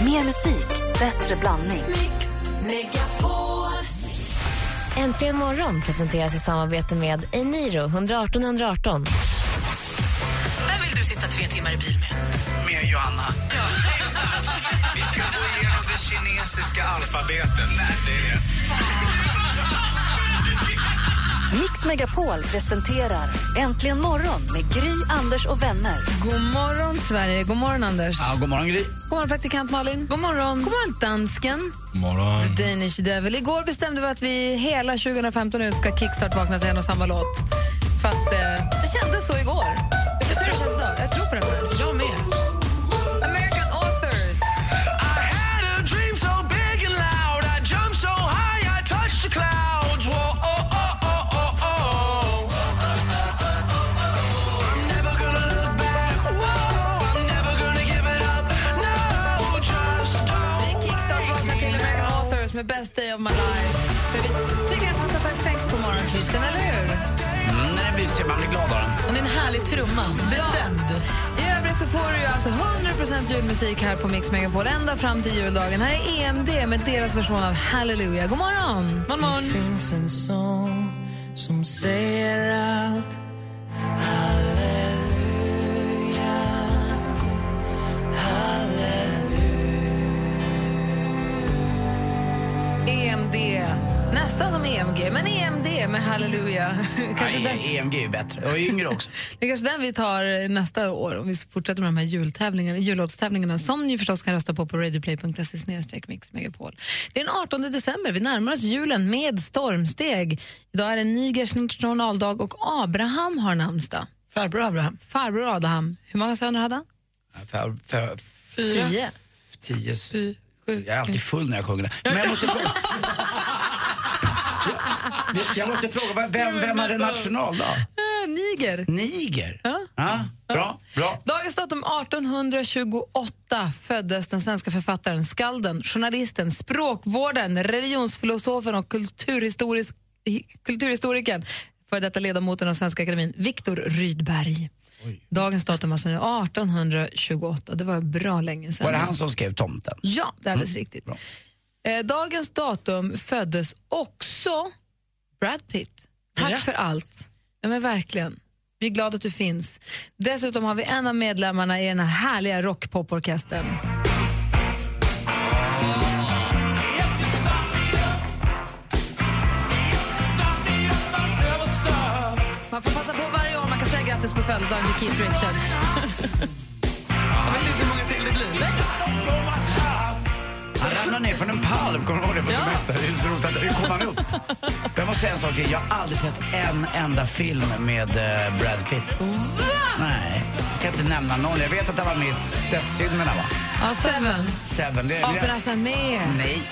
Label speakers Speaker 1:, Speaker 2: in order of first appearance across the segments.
Speaker 1: Mer musik, bättre blandning.
Speaker 2: Mix Megapol.
Speaker 3: Äntligen morgon presenteras i samarbete med Eniro 118 118.
Speaker 4: Vem vill du sitta tre timmar i bil med?
Speaker 5: med Johanna. Vi ska gå igenom det kinesiska alfabetet. Nej, det är det.
Speaker 1: Mix Megapol presenterar Äntligen morgon med Gry, Anders och vänner.
Speaker 6: God morgon, Sverige. God morgon, Anders.
Speaker 7: Ja, god morgon, Gry.
Speaker 6: God morgon, praktikant Malin. God morgon. God morgon, dansken.
Speaker 7: morgon.
Speaker 6: Danish Devil. Igår bestämde vi att vi hela 2015 ut ska kickstart-vakna till en och samma låt. För att eh, det kändes så igår. Visst är det känns idag? Jag tror på den här.
Speaker 4: Jag med.
Speaker 6: American Authors.
Speaker 5: I had a dream so big and loud I jumped so high I touched the clouds Whoa, oh, oh, oh, oh, oh I'm never gonna look back Whoa, I'm never gonna give it up No, just don't
Speaker 6: Vi kickstart-vaknar till American Authors med Best Day of My Life. För vi tycker den passar perfekt på morgonkvisten, eller hur?
Speaker 7: Mm, den är mysig, man blir glad av den.
Speaker 4: Och det är en härlig trumma. Bestämd.
Speaker 6: I övrigt så får du ju alltså 100% julmusik här på Mix Megapol ända fram till juldagen. Här är EMD med deras version av Hallelujah. God morgon!
Speaker 4: God morgon.
Speaker 6: EMD. E Nästan som EMG, men EMD med Hallelujah. kanske den,
Speaker 7: E Nej, EMG är ju bättre. Och yngre också.
Speaker 6: det är kanske den vi tar eh, nästa år om vi fortsätter med de här jultävlingarna, jullåtstävlingarna som ni förstås kan rösta på på radioplay.se snedstreck Mix Megapol. Det är den 18 december, vi närmar oss julen med stormsteg. Idag är det Nigers nationaldag och Abraham har namnsdag.
Speaker 4: Farbror Abraham.
Speaker 6: Farbror Adam, hur många söner hade han?
Speaker 7: För, för,
Speaker 4: Fyra.
Speaker 6: Tio.
Speaker 7: tio. Jag är alltid full när jag sjunger den. Men jag måste fråga... Jag, jag måste fråga, vem, vem hade nationaldag?
Speaker 6: Äh, Niger.
Speaker 7: Niger? Ja, bra, bra.
Speaker 6: Dagens datum 1828 föddes den svenska författaren, skalden, journalisten, språkvården, religionsfilosofen och kulturhistorisk, kulturhistorikern, för detta ledamoten av Svenska Akademin, Viktor Rydberg. Dagens datum alltså är 1828, det var bra länge sedan.
Speaker 7: Var det han som skrev Tomten?
Speaker 6: Ja, det är alldeles riktigt.
Speaker 7: bra.
Speaker 6: Eh, dagens datum föddes också Brad Pitt. Tack
Speaker 4: Grattis.
Speaker 6: för allt. Ja, men verkligen. Vi är glada att du finns. Dessutom har vi en av medlemmarna i den här härliga rockpoporkestern. Man får passa på varje år man kan säga grattis på födelsedagen till Keith Richards.
Speaker 4: Jag vet inte hur många till det blir.
Speaker 7: Han ramlade ner från en palm, kommer du ihåg det? På semesterhusrotet. Hur kom han upp? Jag måste säga en sak till. Jag har aldrig sett en enda film med eh, Brad Pitt. Nej, jag kan inte nämna någon. Jag vet att han var med i Dödssyndorna, va?
Speaker 6: Ja, Seven.
Speaker 7: Seven. Det,
Speaker 6: Apornas är med.
Speaker 7: Nej.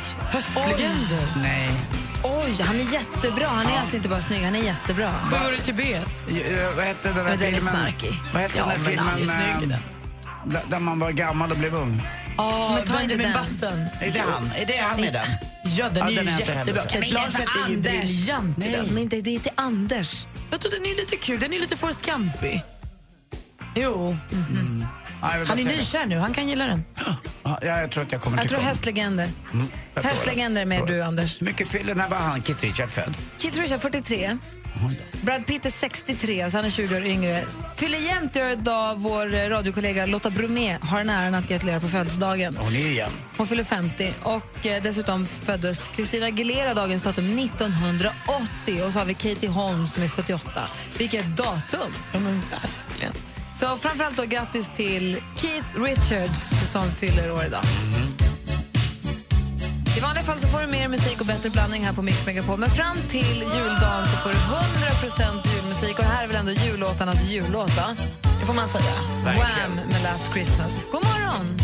Speaker 4: Legender.
Speaker 7: Nej.
Speaker 6: Oj, han är jättebra. Han är alltså inte bara snygg, han är jättebra.
Speaker 4: Sju år i Tibet.
Speaker 7: Eh, Vad hette den där
Speaker 6: Men den är
Speaker 7: filmen?
Speaker 6: snarkig.
Speaker 7: Vad hette
Speaker 4: Ja,
Speaker 7: den där
Speaker 4: men han är
Speaker 7: filmen?
Speaker 4: snygg,
Speaker 7: eh, där- Där man var gammal och blev ung.
Speaker 4: Ja,
Speaker 6: Men ta
Speaker 4: Benjamin
Speaker 6: inte den.
Speaker 4: Button.
Speaker 7: Är det han? Är det han med den?
Speaker 4: Ja, den är
Speaker 7: Ja, den
Speaker 4: ju
Speaker 7: är inte
Speaker 4: jättebra.
Speaker 7: heller så.
Speaker 4: Kate
Speaker 6: Men den
Speaker 4: Blanchett
Speaker 6: var
Speaker 4: är ju
Speaker 6: Anders.
Speaker 4: briljant i
Speaker 6: Nej,
Speaker 4: den.
Speaker 6: men inte, det är till Anders.
Speaker 4: Jag tror den är lite kul. Den är lite Forrest Gumpy. Jo,
Speaker 7: Ja, jag vill bara
Speaker 4: han är
Speaker 7: säga
Speaker 4: nykär nu. Han kan gilla den.
Speaker 7: det. Ja, jag tror att jag kommer
Speaker 6: Jag
Speaker 7: tycka
Speaker 6: tror
Speaker 7: om den.
Speaker 6: Höstlegender.
Speaker 7: Mm, jag tror det.
Speaker 6: Höstlegender med du, Anders.
Speaker 7: Hur mycket fyller, när var han, Kit Richard, född?
Speaker 6: Keith Richards 43. Brad Pitt är 63, så han är 20 år yngre. Fyller jämnt gör idag vår eh, radiokollega Lotta Bromé har den äran att gratulera på födelsedagen.
Speaker 7: Hon är ju igen.
Speaker 6: Hon fyller 50 och eh, dessutom föddes Christina Aguilera dagens datum 1980 och så har vi Katie Holmes som är 78. Vilket datum!
Speaker 4: Ja, men verkligen.
Speaker 6: Så framförallt då grattis till Keith Richards som fyller år idag. I vanliga fall så får du mer musik och bättre blandning här på Mix Megapol. Men fram till juldagen så får du 100% julmusik. Och det här är väl ändå jullåtarnas jullåt, va?
Speaker 4: Det får man säga.
Speaker 6: Wham! med Last Christmas. God morgon!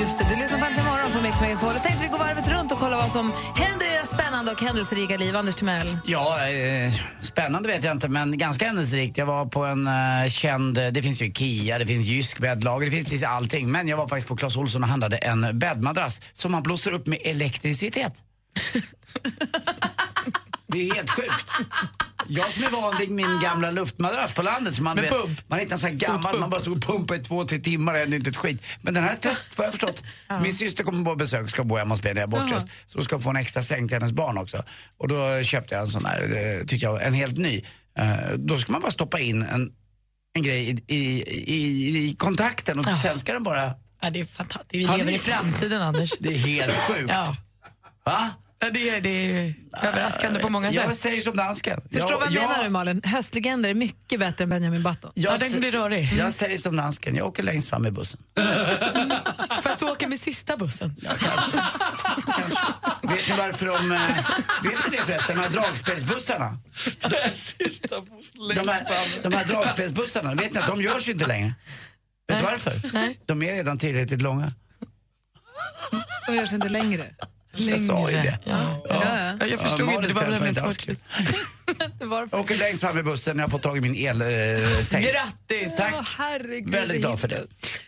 Speaker 6: Just det, du lyssnar på Äntligen morgon på Mix Megapol. Jag tänkte vi går varvet runt och kollar vad som händer i era spännande och händelserika liv. Anders Timell.
Speaker 7: Ja, eh, spännande vet jag inte, men ganska händelserikt. Jag var på en eh, känd, det finns ju Kia, det finns Jysk bäddlager, det finns precis allting. Men jag var faktiskt på Clas Ohlson och handlade en bäddmadrass som man blåser upp med elektricitet. Det är ju helt sjukt. Jag som är van vid min gamla luftmadrass på landet. Så man,
Speaker 4: Med
Speaker 7: vet,
Speaker 4: pump?
Speaker 7: man är inte ens så här gammal, man bara stod och pumpade i två, tre timmar och hände inte ett skit. Men den här är trött, vad jag förstått. Min syster kommer på besök, ska bo hemma hos mig när jag är bortrest. Så ska få en extra säng till hennes barn också. Och då köpte jag en sån här, eh, tyckte jag, en helt ny. Eh, Då ska man bara stoppa in en, en grej i, i, i, i kontakten och sen ska den bara...
Speaker 4: Ja, det är fantastiskt.
Speaker 7: Har
Speaker 4: Vi
Speaker 7: ni-
Speaker 4: lever i framtiden, Anders.
Speaker 7: Det är helt sjukt.
Speaker 4: Ja.
Speaker 7: Va?
Speaker 4: Ja, det, är, det är överraskande på många
Speaker 7: Jag
Speaker 4: sätt.
Speaker 7: säger som dansken.
Speaker 6: Förstår vad jag menar nu Malin? Höstlegender är mycket bättre än Benjamin Button.
Speaker 7: Jag,
Speaker 4: Ja, den
Speaker 7: sä-
Speaker 4: blir rörig.
Speaker 7: jag säger som dansken, jag åker längst fram i bussen.
Speaker 4: Fast du åker med sista bussen.
Speaker 7: Vet ni varför de... eh, Vet ni det förresten, de här dragspelsbussarna?
Speaker 5: Sista bussen
Speaker 7: De här, de här dragspelsbussarna, vet ni att de görs ju inte längre? Vet du varför? De är redan tillräckligt långa.
Speaker 6: De görs inte längre.
Speaker 7: Jag sa ju det.
Speaker 4: Ja.
Speaker 6: Ja, ja.
Speaker 4: Ja, jag förstod
Speaker 7: Ja,
Speaker 4: inte. Det var
Speaker 7: Malin skämtar
Speaker 4: väl en
Speaker 7: inte alls.
Speaker 4: forskning.
Speaker 7: Jag åker längst fram i bussen när jag får tag i min elsäng.
Speaker 4: Grattis!
Speaker 6: Åh,
Speaker 7: Tack!
Speaker 6: herregud.
Speaker 7: Väldigt glad för det.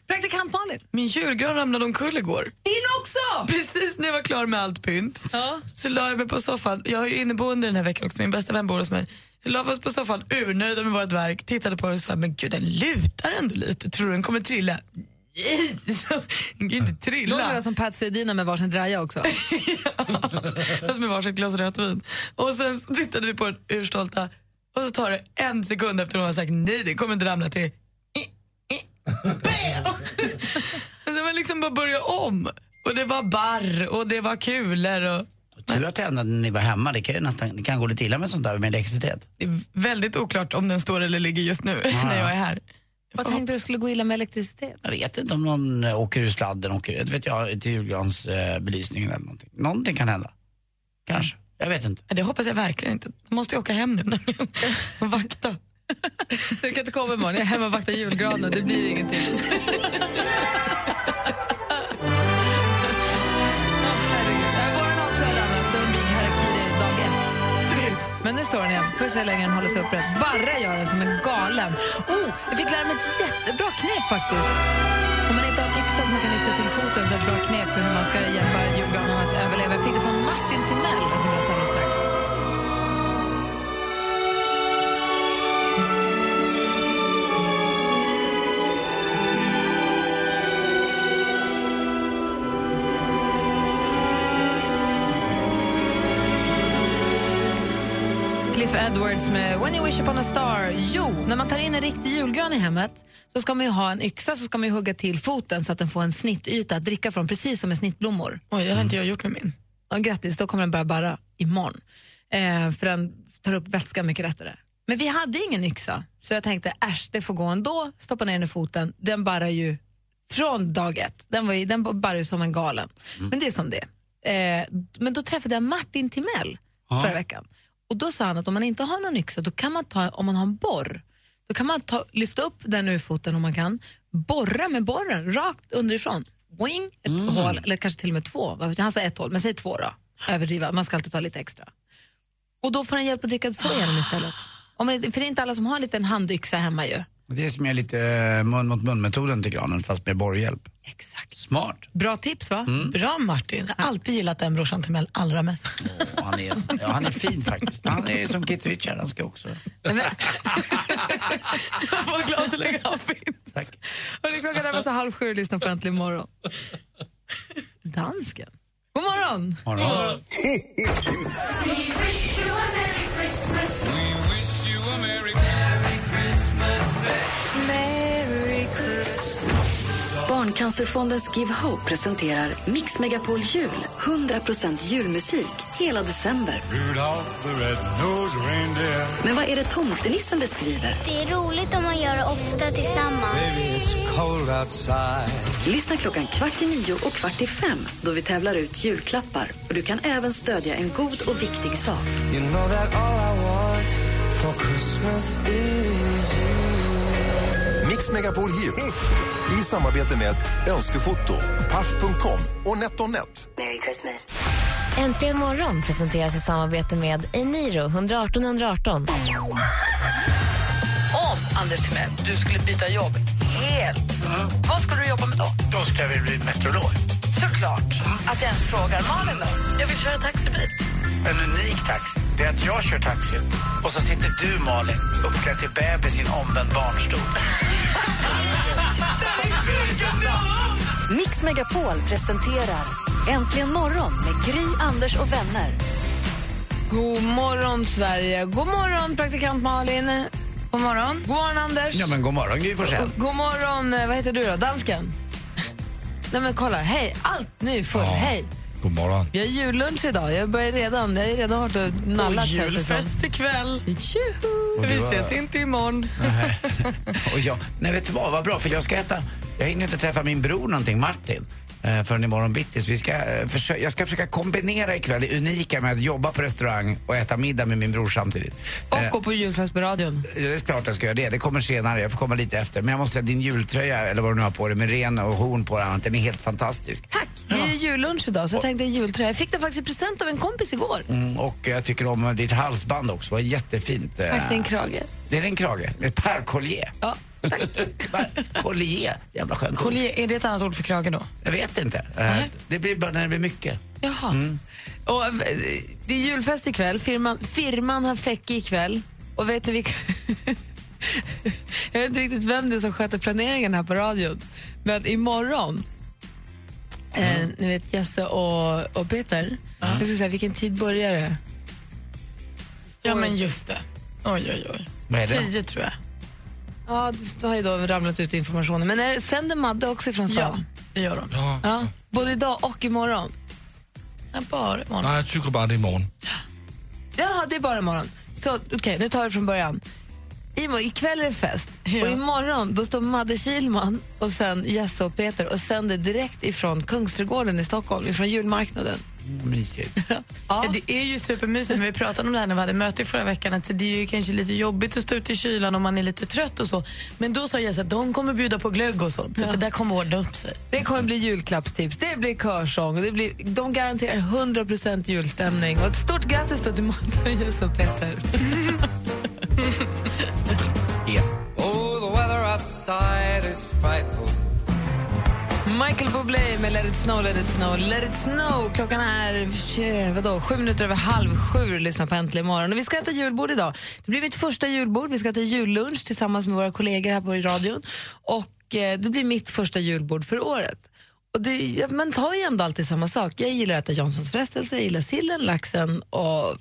Speaker 6: Praktikant Malin.
Speaker 4: Min julgran ramlade omkull igår.
Speaker 6: Din också!
Speaker 4: Precis när jag var klar med allt pynt
Speaker 6: Ja.
Speaker 4: så la jag mig på soffan. Jag är ju inneboende den här veckan också, min bästa vän bor hos mig. Så la vi oss på soffan, urnöjda med vårt verk, tittade på den och sa men gud den lutar ändå lite, tror du den kommer trilla? Nej, så- den kan ju inte
Speaker 6: Låter det
Speaker 4: trilla.
Speaker 6: som Patsy och Dina med varsin draja också?
Speaker 4: Fast med varsitt glas rött vin. Och sen så tittade vi på den urstolta och så tar det en sekund efter hon har sagt nej, den kommer inte ramla till Bam! Och Sen var det liksom bara börja om. Och det var barr och det var kulor och
Speaker 7: Tur att det hände när ni var hemma, det kan ju nästan det kan gå lite illa med sånt där med elektricitet.
Speaker 4: Det är väldigt oklart om den står eller ligger just nu när jag är här.
Speaker 6: Vad tänkte du skulle gå illa med elektricitet?
Speaker 7: Jag vet inte om någon eh, åker ur sladden, åker, det vet jag, till julgransbelysningen eller någonting. Någonting kan hända. Kanske. Jag vet inte.
Speaker 4: Ja, Det hoppas jag verkligen inte. Då måste jag åka hem nu och vakta.
Speaker 6: Du kan inte komma imorgon, jag är hemma och vaktar julgranen. Det blir ingenting. Åh, herregud. Äh, Våran har också ramlat. Den big harakiri dag ett. Men nu står den igen. Får vi se hur länge den håller sig upprätt. Varra gör den som en galen. Oh, jag fick lära mig ett jättebra knep faktiskt. Om man inte har en yxa som man kan yxa till foten så är det ett bra knep för hur man ska hjälpa julgranen att överleva. Jag fick det från Martin Timell. Jag ska berätta alldeles strax. Cliff Edwards med When you wish upon a star. Jo, när man tar in en riktig julgran i hemmet så ska man ju ha en yxa så ska man ju hugga till foten så att den får en snittyta att dricka från, precis som med snittblommor.
Speaker 4: Oj, det har inte jag gjort med min.
Speaker 6: Och grattis, då kommer den börja barra imorgon. Eh, för den tar upp vätska mycket lättare. Men vi hade ingen yxa, så jag tänkte äsch, det får gå ändå. Stoppa ner den i foten. Den barrar ju från dag ett. Den, var ju, den barrar ju som en galen. Men det är som det är. eh, Men då träffade jag Martin Timell förra veckan. Och Då sa han att om man inte har någon yxa, då kan man ta, om man har en borr, då kan man ta, lyfta upp den ur foten om man kan, borra med borren rakt underifrån. Wing, ett hål, eller kanske till och med två. Vad vet jag, Han sa ett hål, men säg två då. Överdriva, man ska alltid ta lite extra. Och då får han hjälp att dricka så igenom istället. Om, man- för det är inte alla som har en liten handyxa hemma ju.
Speaker 7: Det är som är lite eh, mun mot mun-metoden till granen, fast med borrhjälp.
Speaker 6: Exakt.
Speaker 7: Smart.
Speaker 6: Bra tips va?
Speaker 7: Mm.
Speaker 4: Bra Martin, jag har alltid gillat den brorsan Timell allra mest.
Speaker 7: Och han, är, ja, han är fin faktiskt. Men Han är som Kit Richard, han ska också...
Speaker 6: Nej, men-
Speaker 4: Jag får glad så länge han finns.
Speaker 7: Tack.
Speaker 6: Hörrni, klockan närmar sig halv sju och lyssna på Äntligen morgon. Dansken. God morgon!
Speaker 7: Morgon.
Speaker 1: Barncancerfondens Give Hope presenterar Mix Megapol Jul. 100% julmusik hela december. Men vad är det tomtenissen beskriver?
Speaker 8: Det är roligt om man gör det ofta tillsammans.
Speaker 1: Lyssna klockan kvart i nio och kvart i fem då vi tävlar ut julklappar. Och du kan även stödja en god och viktig sak.
Speaker 9: Mix Megapol Hero i samarbete med Önskefoto, Paff.com och NetOnNet.
Speaker 3: Äntligen morgon presenteras i samarbete med Eniro 118 118.
Speaker 4: Om Anders Timell, du skulle byta jobb helt, vad skulle du jobba med då?
Speaker 7: Då ska vi bli meteorolog.
Speaker 4: Såklart att jag ens frågar. Malin då? Jag vill köra taxibil.
Speaker 7: en unik taxi, det är att jag kör taxi och så sitter du, Malin, uppklädd till bebis i en omvänd barnstol.
Speaker 1: Mix Megapol presenterar Äntligen morgon med Gry, Anders och vänner.
Speaker 6: God morgon, Sverige. God morgon, praktikant Malin.
Speaker 3: God morgon.
Speaker 6: God morgon, Anders.
Speaker 7: Ja, men god morgon, Gry Forssell.
Speaker 6: Och God morgon, eh, vad heter du då? Dansken? Nej men kolla, hej, allt nu är full, hej.
Speaker 7: God morgon.
Speaker 6: Vi har jullunch idag, jag börjar redan, jag är redan varit och nallat
Speaker 4: Och
Speaker 6: känns det som.
Speaker 4: julfest ikväll.
Speaker 7: Och
Speaker 4: Tjoho! Vi
Speaker 7: du har-
Speaker 4: ses inte imorgon.
Speaker 7: Och jag, nej vet du vad, vad bra för jag ska äta, jag hinner inte träffa min bror någonting, Martin. eh, Förrän imorgon bitti. Så vi ska, eh, försö- jag ska försöka kombinera ikväll det unika med att jobba på restaurang och äta middag med min bror samtidigt. Eh,
Speaker 6: Och gå på julfest på radion.
Speaker 7: det är klart jag ska göra det. Det kommer senare. Jag får komma lite efter. Men jag måste säga, din jultröja, eller vad du nu har på dig, med ren och horn på den, annat, den är helt fantastisk.
Speaker 6: Tack, det är ju jullunch idag så jag tänkte en jultröja. Jag fick den faktiskt i present av en kompis igår.
Speaker 7: Mm, och jag tycker om ditt halsband också. Det var jättefint. eh.
Speaker 6: Tack, det är en krage.
Speaker 7: Det är en krage. Ett percollier.
Speaker 6: Ja, tack.
Speaker 7: Per- Collier. Jävla skönt.
Speaker 4: Collier, är det ett annat ord för krage då?
Speaker 7: Jag vet inte. Eh, Det blir bara när det blir mycket.
Speaker 6: Jaha.
Speaker 4: Mm.
Speaker 6: Och, eh, det är julfest ikväll. Firman, firman har Fäcke ikväll. Och vet ni vilka... Jag vet inte riktigt vem det är som sköter planeringen här på radion. Men att imorgon, eh,
Speaker 4: Mm.
Speaker 6: ni vet Jesse och, och Peter. Jag ska säga, vilken tid börjar det?
Speaker 4: Ja, men just det. Oj, oj, oj.
Speaker 7: Vad är det?
Speaker 4: Tio tror jag.
Speaker 6: Ja, det har ju då ramlat ut informationen. Men är, sänder Madde också ifrån
Speaker 4: Ja,
Speaker 6: stan?
Speaker 4: det gör de.
Speaker 6: Ja. Både idag och imorgon?
Speaker 4: Ja, bara imorgon.
Speaker 10: Nej, jag tycker bara det är imorgon.
Speaker 6: Jaha, det är bara imorgon. Så okej, nu tar vi det från början. Imo, ikväll är det fest
Speaker 4: Ja.
Speaker 6: och imorgon då står Madde Kilman och sen Jesse och Peter och sänder direkt ifrån Kungsträdgården i Stockholm, ifrån julmarknaden.
Speaker 7: Mysigt.
Speaker 6: Ja.
Speaker 4: Ja, det är ju supermysigt, men vi pratade om det här när vi hade möte i förra veckan, att det är ju kanske lite jobbigt att stå ute i kylan om man är lite trött och så. Men då sa Jesse att de kommer bjuda på glögg och sånt, så att det där kommer ordna upp sig.
Speaker 6: Det kommer bli julklappstips, det blir körsång, det blir, de garanterar 100% julstämning. Och ett stort grattis då till Madde, Jesse och Peter.
Speaker 7: Ja.
Speaker 5: Oh,
Speaker 6: Michael Bublé med Let it snow, let it snow, let it snow. Klockan är tjö, vadå, sju minuter över halv sju. Lyssna på Äntligen morgon. Och vi ska äta julbord idag. Det blir mitt första julbord. Vi ska äta jullunch tillsammans med våra kollegor här på radion. Och eh, Det blir mitt första julbord för året. Och det, ja, man tar ju ändå alltid samma sak. Jag gillar att äta Janssons frestelse, jag gillar sillen, laxen och...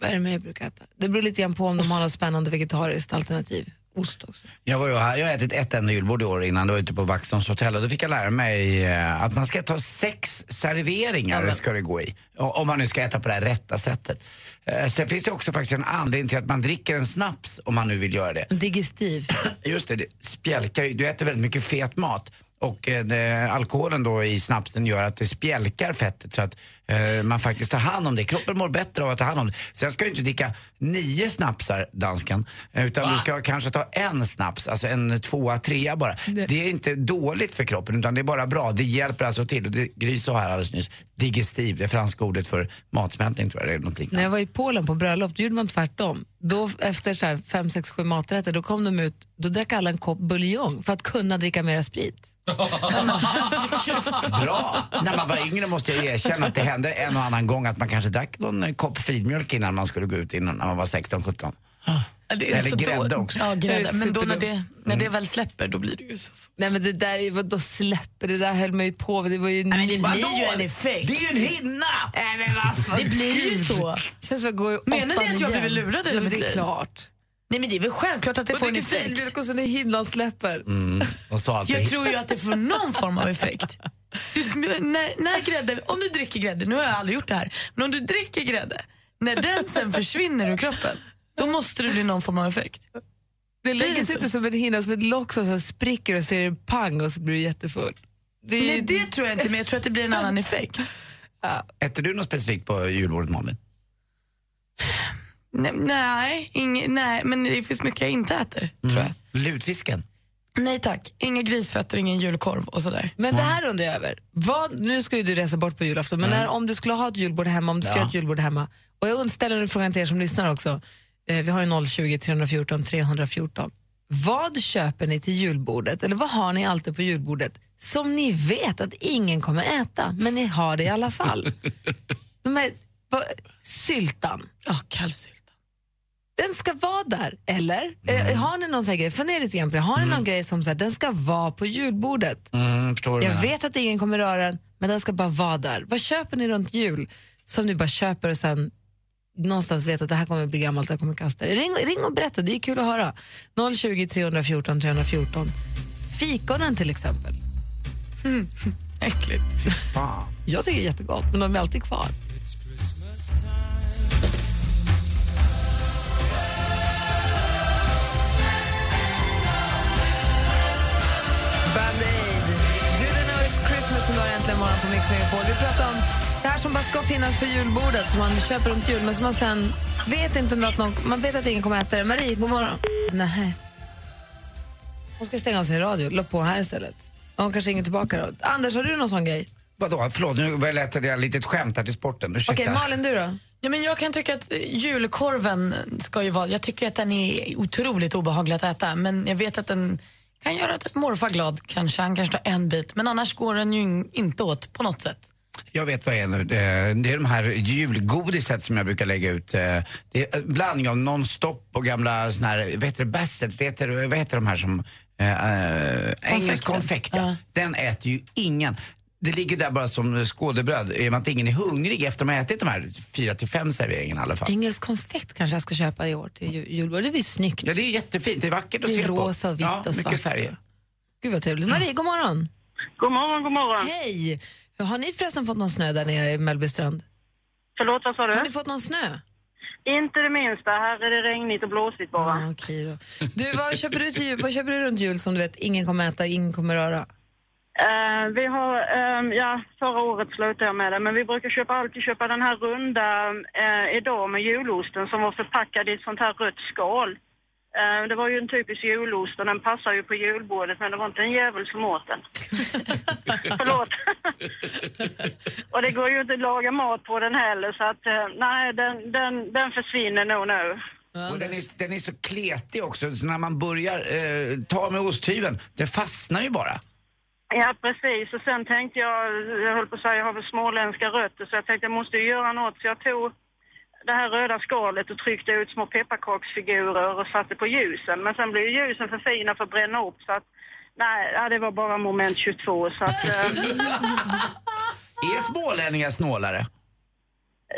Speaker 6: Vad är det mer jag brukar äta? Det beror lite grann på om de har något spännande vegetariskt alternativ. Ost också.
Speaker 7: Jag, var ju här, jag har ätit ett enda julbord i år innan, det var ute på Vaxholms hotell och då fick jag lära mig eh, att man ska ta sex serveringar ska det gå i. O- Om man nu ska äta på det här rätta sättet. Eh, Sen finns det också faktiskt en anledning till att man dricker en snaps om man nu vill göra det.
Speaker 6: Digestiv.
Speaker 7: Just det, det spjälkar ju, du äter väldigt mycket fet mat. Och eh, det, alkoholen då i snapsen gör att det spjälkar fettet så att eh, man faktiskt tar hand om det. Kroppen mår bättre av att ta hand om det. Sen ska du inte dricka nio snapsar, dansken. Utan du ska kanske ta en snaps, alltså en tvåa, trea bara. Det, är inte dåligt för kroppen utan det är bara bra. Det hjälper alltså till. Och det Gry sa här alldeles nyss, digestiv, det franska ordet för matsmältning tror jag det är något
Speaker 6: När
Speaker 7: liknande.
Speaker 6: jag var i Polen på bröllop, då gjorde man tvärtom. Då, efter så här fem, sex, sju maträtter, då kom de ut, då drack alla en kopp buljong för att kunna dricka mera sprit.
Speaker 7: Bra! När man var yngre måste jag erkänna att det hände en och annan gång att man kanske drack någon eh, kopp filmjölk innan man skulle gå ut innan när man var 16-17.
Speaker 4: Det
Speaker 7: Eller
Speaker 4: så
Speaker 7: grädde
Speaker 4: då,
Speaker 7: också. Mm.
Speaker 4: Ja,
Speaker 6: Det
Speaker 4: grädde.
Speaker 6: är
Speaker 4: Men då när
Speaker 6: superdumt.
Speaker 4: det, när det väl släpper, då blir det ju så.
Speaker 6: Nej men det där, är ju- vadå släpper, det där höll man ju på med. Det var ju
Speaker 4: det
Speaker 6: Nej,
Speaker 4: blir ju en effekt.
Speaker 7: Det är ju en hinna!
Speaker 6: men vad fan.
Speaker 4: Det blir ju så.
Speaker 6: Känns som att gå i
Speaker 4: Menar
Speaker 6: åttan
Speaker 4: ni att jag
Speaker 6: igen?
Speaker 4: blivit lurad hela
Speaker 6: ja, men
Speaker 4: mitt
Speaker 6: Det är
Speaker 4: liv?
Speaker 6: klart.
Speaker 4: Nej men det är Mm. väl självklart att det
Speaker 6: Och
Speaker 4: får en
Speaker 6: dricker
Speaker 4: effekt.
Speaker 6: filmjölk och sen är hinnan släpper.
Speaker 7: De sa alltid,
Speaker 4: Jag tror ju att det får någon form av effekt. Du, när, när grädde, om du dricker grädde, nu har jag aldrig gjort det här, men om du dricker grädde, när den sen försvinner ur kroppen, då måste det bli någon form av effekt.
Speaker 6: Det
Speaker 4: det
Speaker 6: lägger
Speaker 4: så?
Speaker 6: sig inte som en hinna, som ett lock som sen spricker och så är det pang och så blir du jättefull. Det är-
Speaker 4: Nej, det tror jag inte, men jag tror att det blir en annan effekt.
Speaker 7: äter du något specifikt på julbordet Malin?
Speaker 4: Nej, nej, ing, nej men det finns mycket jag inte äter, tror jag.
Speaker 7: Lutfisken?
Speaker 4: Nej tack, inga grisfötter, ingen julkorv och sådär.
Speaker 6: Men det här undrar jag över. Vad, nu ska ju du resa bort på julafton, men när, om du skulle ha ett julbord hemma, om du ska
Speaker 7: Ja.
Speaker 6: ha ett julbord hemma, och jag ställer en fråga till er som lyssnar också, eh, vi har ju 020 314 314. Vad köper ni till julbordet, eller vad har ni alltid på julbordet som ni vet att ingen kommer äta, men ni har det i alla fall? De här vad- syltan.
Speaker 4: Ja, kalvsylta.
Speaker 6: Den ska vara där, eller? Eh, har ni någon sån här grej? Fundera lite grann på det. Har ni någon grej som så här, den ska vara på julbordet?
Speaker 7: Mm, förstår vad du
Speaker 6: Jag
Speaker 7: menar.
Speaker 6: vet att ingen kommer röra den, men den ska bara vara där. Vad köper ni runt jul som ni bara köper och sen någonstans vet att det här kommer bli gammalt, jag kommer kasta det? Ring, ring och berätta, det är kul att höra. 020 314 314. Fikonen till exempel.
Speaker 4: Äckligt.
Speaker 7: Fan.
Speaker 6: Jag tycker det är jättegott, men de är alltid kvar. Band Aid. You don't know it's Christmas som har äntligen morgon på Mix Megapol. Vi pratar om det här som bara ska finnas på julbordet som man köper runt jul men som man sen vet inte något, någon, man vet att ingen kommer äta det. Marie, god morgon. Nej. Hon ska stänga av sin radio, la på här istället. Hon kanske ringer tillbaka då. Anders, har du någon sån grej?
Speaker 7: Vadå, förlåt, nu var jag lätt att jag lite skämt här till sporten. Ursäkta.
Speaker 6: Okej, Malin du då?
Speaker 4: Ja, men jag kan tycka att eh, julkorven ska ju vara... Jag tycker att den är otroligt obehaglig att äta men jag vet att den kan göra typ morfar glad kanske. Han kanske tar en bit men annars går den ju in- inte åt på något sätt.
Speaker 7: Jag vet vad det är nu. Eh, Det är de här julgodiset som jag brukar lägga ut. Eh, Det är en blandning av non-stop och gamla såna här, vad heter det, bassets? Det heter, vad heter de här som, eh, eh, engelsk konfekt ja.
Speaker 4: Ja.
Speaker 7: Den äter ju ingen. Det ligger där bara som skådebröd, i och med att ingen är hungrig efter att man har ätit de här fyra till fem serveringarna i alla fall.
Speaker 6: Engelsk konfekt kanske jag ska köpa i år till ju- julbord. Det blir snyggt.
Speaker 7: Ja, det är jättefint, det är vackert att
Speaker 6: Det är
Speaker 7: se på.
Speaker 6: rosa och vitt
Speaker 7: ja,
Speaker 6: och svart.
Speaker 7: mycket färger.
Speaker 6: Gud vad trevligt. Marie, god morgon.
Speaker 10: God morgon, god morgon.
Speaker 6: Hej! Har ni förresten fått någon snö där nere i Mellbystrand?
Speaker 10: Förlåt, vad sa
Speaker 6: Har
Speaker 10: du?
Speaker 6: ni fått någon snö?
Speaker 10: Inte det minsta. Här är det regnigt och blåsigt bara.
Speaker 3: Ah,
Speaker 6: Ja, okej då. Du, vad köper du, till jul, vad köper du runt jul som du vet ingen kommer äta, ingen kommer röra?
Speaker 10: Eh, vi har, ehm, ja, förra året slutade jag med det, men vi brukar köpa, alltid köpa den här runda eh, idag med julosten som var förpackad i ett sånt här rött skal. Eh, det var ju en typisk julost och den passar ju på julbordet, men det var inte en jävel som åt den. Förlåt. och det går ju inte att laga mat på den heller, så att eh, nej, den, den, den försvinner nog nu.
Speaker 7: Och den, är, den är så kletig också, så när man börjar eh, ta med osthyveln, den fastnar ju bara.
Speaker 10: Ja, precis. Och sen tänkte jag, jag höll på att säga, jag har väl småländska rötter, så jag tänkte jag måste ju göra något. Så jag tog det här röda skalet och tryckte ut små pepparkaksfigurer och satte på ljusen. Men sen blev ju ljusen för fina för att bränna upp, så att nej, ja, det var bara moment 22. Så att, eh,
Speaker 7: Är smålänningar snålare?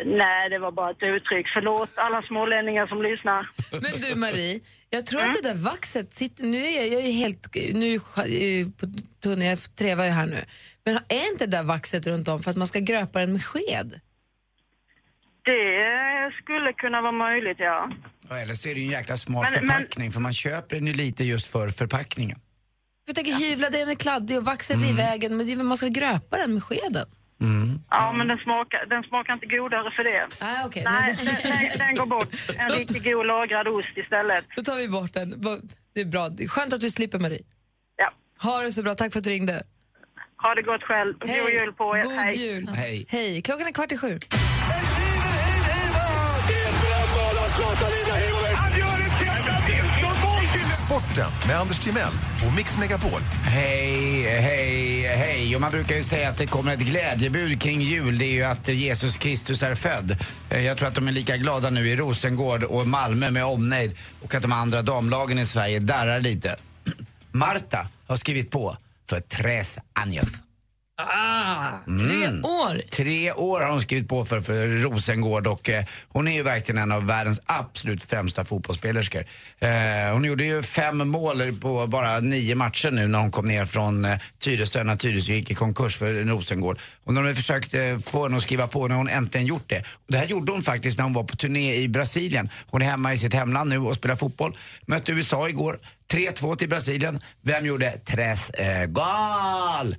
Speaker 10: nej, det var bara ett uttryck. Förlåt alla smålänningar som lyssnar.
Speaker 6: Men du Marie, jag tror att det där vaxet sitter... Nu är jag, jag är ju helt... Nu är jag på tunna, jag trevar ju här nu. Men är inte det där vaxet runt om för att man ska gröpa den med sked?
Speaker 10: Det eh, skulle kunna vara möjligt, ja.
Speaker 7: Ja, Eller så är det ju en jäkla smart
Speaker 10: Men- men-
Speaker 7: förpackning för man köper den ju lite just för förpackningen.
Speaker 6: Jag tänker hyvla, den är kladdig och vaxet är i vägen men det är väl man ska gröpa den med skeden.
Speaker 10: Ja, men den smakar, den smakar inte godare för det.
Speaker 6: Ah, okay.
Speaker 10: Nej,
Speaker 6: Nej.
Speaker 10: den, den, den går bort. En riktigt god lagrad ost istället.
Speaker 6: Då tar vi bort den. Vad- Det är bra. Det är Skönt att du slipper Marie.
Speaker 10: Ja.
Speaker 6: Ha det så bra, tack för att du ringde.
Speaker 10: Ha det gott själv. God jul på er.
Speaker 6: God jul.
Speaker 7: Hej.
Speaker 6: Hej. Klockan är kvart i sju.
Speaker 9: Sporten med Anders Timell och Mix Megapol.
Speaker 7: Hej, hej, hej. Och man brukar ju säga att det kommer ett glädjebud kring jul. Det är ju att Jesus Kristus är född. Eh, Jag tror att de är lika glada nu i Rosengård och Malmö med omnejd och att de andra damlagen i Sverige darrar lite. Marta har skrivit på för tres años.
Speaker 6: Mm.
Speaker 4: Tre år!
Speaker 7: Tre år har hon skrivit på för, för Rosengård och eh, hon är ju verkligen en av världens absolut främsta fotbollsspelerskor. Eh, hon gjorde ju fem mål på bara nio matcher nu när hon kom ner från eh, Tyresö när Tyresö gick i konkurs för Rosengård. Och när de försökte eh, få henne att skriva på när hon äntligen gjort det. Och det här gjorde hon faktiskt när hon var på turné i Brasilien. Hon är hemma i sitt hemland nu och spelar fotboll. Mötte USA igår. 3-2 till Brasilien. Vem gjorde tres eh, gal?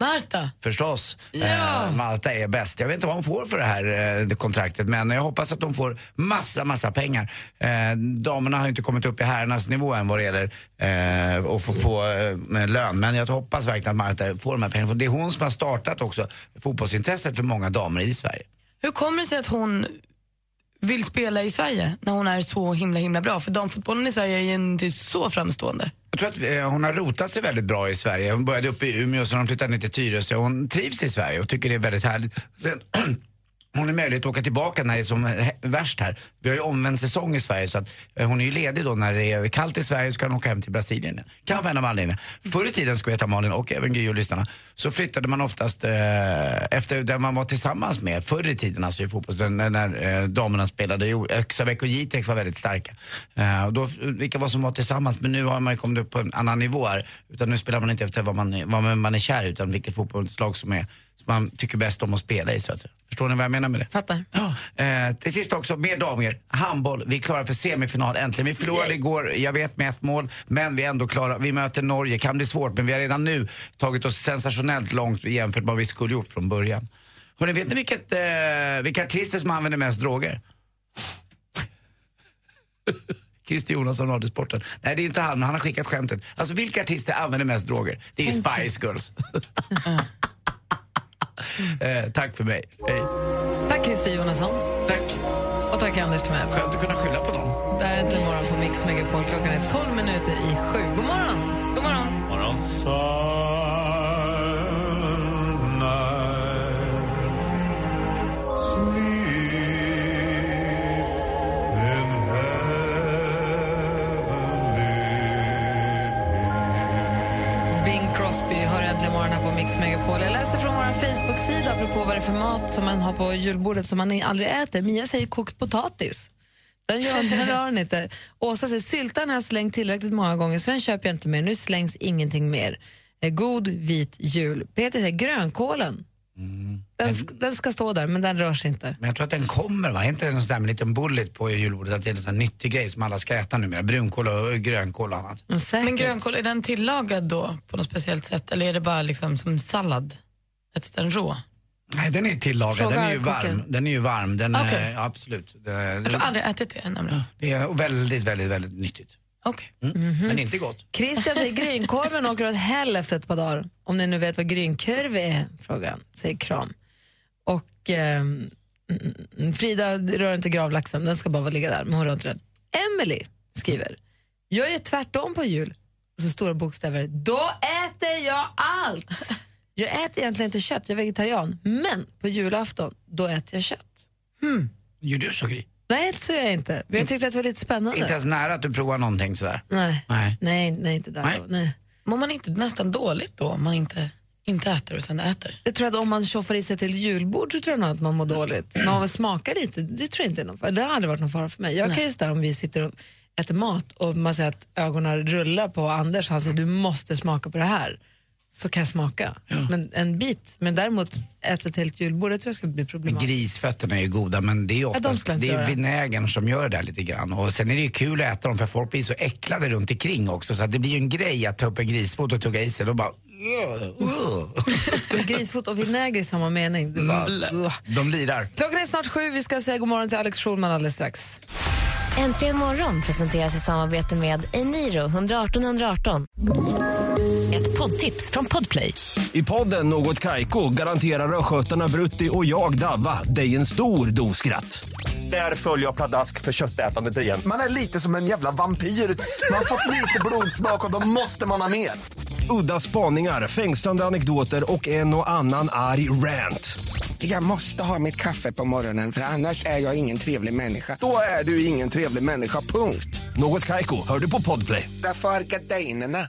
Speaker 4: Marta!
Speaker 7: förstås.
Speaker 4: Ja.
Speaker 7: Eh, Malta är bäst. Jag vet inte vad hon får för det här eh, det kontraktet men jag hoppas att de får massa, massa pengar. Eh, damerna har ju inte kommit upp i herrarnas nivå än vad det gäller eh, att få, få eh, med lön men jag hoppas verkligen att Marta får de här pengarna. För det är hon som har startat också fotbollsintresset för många damer i Sverige.
Speaker 4: Hur kommer det sig att hon vill spela i Sverige när hon är så himla himla bra? För damfotbollen i Sverige är ju inte så framstående.
Speaker 7: Jag tror att eh, hon har rotat sig väldigt bra i Sverige. Hon började uppe i Umeå, sen har hon flyttat ner till Tyresö. Hon trivs i Sverige och tycker det är väldigt härligt. Sen hon är möjligt att åka tillbaka när det är som eh, värst här. Vi har ju omvänd säsong i Sverige så att eh, hon är ju ledig då när det är kallt i Sverige så kan hon åka hem till Brasilien. igen. Kanske en av anledningarna. Förr i tiden, ska jag veta Malin och även Gry och lyssnarna, så flyttade man oftast eh, efter den man var tillsammans med förr i tiden, alltså i fotbollen, när, när eh, damerna spelade. i o- Öksabäck och Jitex var väldigt starka. Eh, och då, vilka var som var tillsammans, men nu har man ju kommit upp på en annan nivå här. Utan nu spelar man inte efter vad man, vad man är kär i, utan vilket fotbollslag som är som man tycker bäst om att spela i. Så att säga. Förstår ni vad jag menar med det?
Speaker 6: Fattar.
Speaker 7: Ja, eh, till sist också, mer damer. Handboll. Vi är klara för semifinal äntligen. Vi förlorade igår, jag vet, med ett mål. Men vi är ändå klara. Vi möter Norge. Kan bli svårt, men vi har redan nu tagit oss sensationellt långt jämfört med vad vi skulle gjort från början. Hörrni, vet ni vilket, eh, vilka artister som använder mest droger? Christer Jonasson, Radiosporten. Nej, det är inte han, men han har skickat skämtet. Alltså, vilka artister använder mest droger? Det är Spice Girls. eh, tack för mig. Hej.
Speaker 6: Tack Christer Jonasson.
Speaker 7: Tack.
Speaker 6: Och tack Anders Timell.
Speaker 7: Skönt att kunna skylla på någon.
Speaker 6: Det här är Äntligen morgon på Mix Megapol. Klockan är 12 minuter i sju. God morgon! God morgon! Bing Crosby har Äntligen morgon här på Mix Megapol. Jag läser från vår Facebook-sida apropå vad det är för mat som man har på julbordet som man aldrig äter. Mia säger kokt potatis. Den gör inte, den rör den inte. Åsa säger syltan har jag slängt tillräckligt många gånger så den köper jag inte mer. Nu slängs ingenting mer. Eh, God vit jul. Peter säger grönkålen. Den, sk- den ska stå där men den rörs inte.
Speaker 7: Men jag tror att den kommer, va? Är inte det någon sån där med en liten bullet på i julbordet? Att det är en sån här nyttig grej som alla ska äta numera. Brunkål och grönkål och annat.
Speaker 6: Men säkert.
Speaker 4: Men grönkål, är den tillagad då på något speciellt sätt eller är det bara liksom som sallad? Äts den rå?
Speaker 7: Nej, den är tillagad.
Speaker 6: Fråga
Speaker 7: Den är ju
Speaker 6: kocken.
Speaker 7: varm. Den är ju varm. Den är,
Speaker 4: Okej.
Speaker 7: absolut. Det,
Speaker 4: Jag har aldrig ätit det nämligen.
Speaker 7: det är väldigt, väldigt, väldigt nyttigt.
Speaker 4: Okej.
Speaker 6: Mhm.
Speaker 7: Men inte gott.
Speaker 6: Christian säger grynkorven åker åt hell efter ett par dagar. Om ni nu vet vad grynkorv är, frågar han, säger Kram. Och ehm, mm, mm, Frida rör inte gravlaxen, den ska bara ligga där, men hon rör inte den. Emily skriver, jag gör tvärtom på jul. Och så stora bokstäver, då äter jag allt! Jag äter egentligen inte kött, jag är vegetarian, men på julafton, då äter jag kött.
Speaker 7: Gör du så, Gry?
Speaker 6: Nej, så gör jag inte. Men jag tyckte att det var lite
Speaker 7: Inte
Speaker 6: spännande.
Speaker 7: ens nära att du provar någonting sådär.
Speaker 6: Nej,
Speaker 7: Nej.
Speaker 6: nej, nej inte där.
Speaker 7: Nej.
Speaker 6: Då. Nej.
Speaker 4: Mår man inte nästan dåligt då om man inte, inte äter och sen äter?
Speaker 6: Jag tror att om man tjoffar i sig till julbord så tror jag nog att man mår dåligt. Men om man smakar lite, det tror jag inte är någon fara. Det har aldrig varit någon fara för mig. Jag kan ju stå där om vi sitter och äter mat och man säger att ögonen rullar på Anders han säger du måste smaka på det här. Så kan jag smaka. Men en bit. Men däremot äta ett helt julbord, det tror jag skulle bli
Speaker 7: Men
Speaker 6: problematiskt.
Speaker 7: grisfötterna är ju goda men det är
Speaker 6: de
Speaker 7: oftast
Speaker 6: ska inte
Speaker 7: det
Speaker 6: göra.
Speaker 7: är vinägern som gör det där lite grann. Och sen är det ju kul att äta dem för folk blir så äcklade runt omkring också så att det blir ju en grej att ta upp en grisfot och tugga i sig. Då bara...
Speaker 6: Men Grisfot och vinäger i samma mening. Det var, Ugh.
Speaker 7: De lirar.
Speaker 6: Klockan är snart sju, vi ska säga god morgon till Alex Schulman alldeles strax.
Speaker 3: Äntligen morgon presenteras i samarbete med Eniro 118 118. Ett poddtips från Podplay.
Speaker 5: I podden Något Kaiko garanterar östgötarna Brutti och jag, Davva, dig en stor dos skratt. Där följer jag pladask för köttätandet igen.
Speaker 11: Man är lite som en jävla vampyr. Man har fått lite blodsmak och då måste man ha mer.
Speaker 5: Udda spaningar, fängslande anekdoter och en och annan arg rant.
Speaker 11: Jag måste ha mitt kaffe på morgonen för annars är jag ingen trevlig människa. Då är du ingen trevlig människa, punkt.
Speaker 5: Något Kaiko, hör du på Podplay.
Speaker 11: Därför arkadeinerna.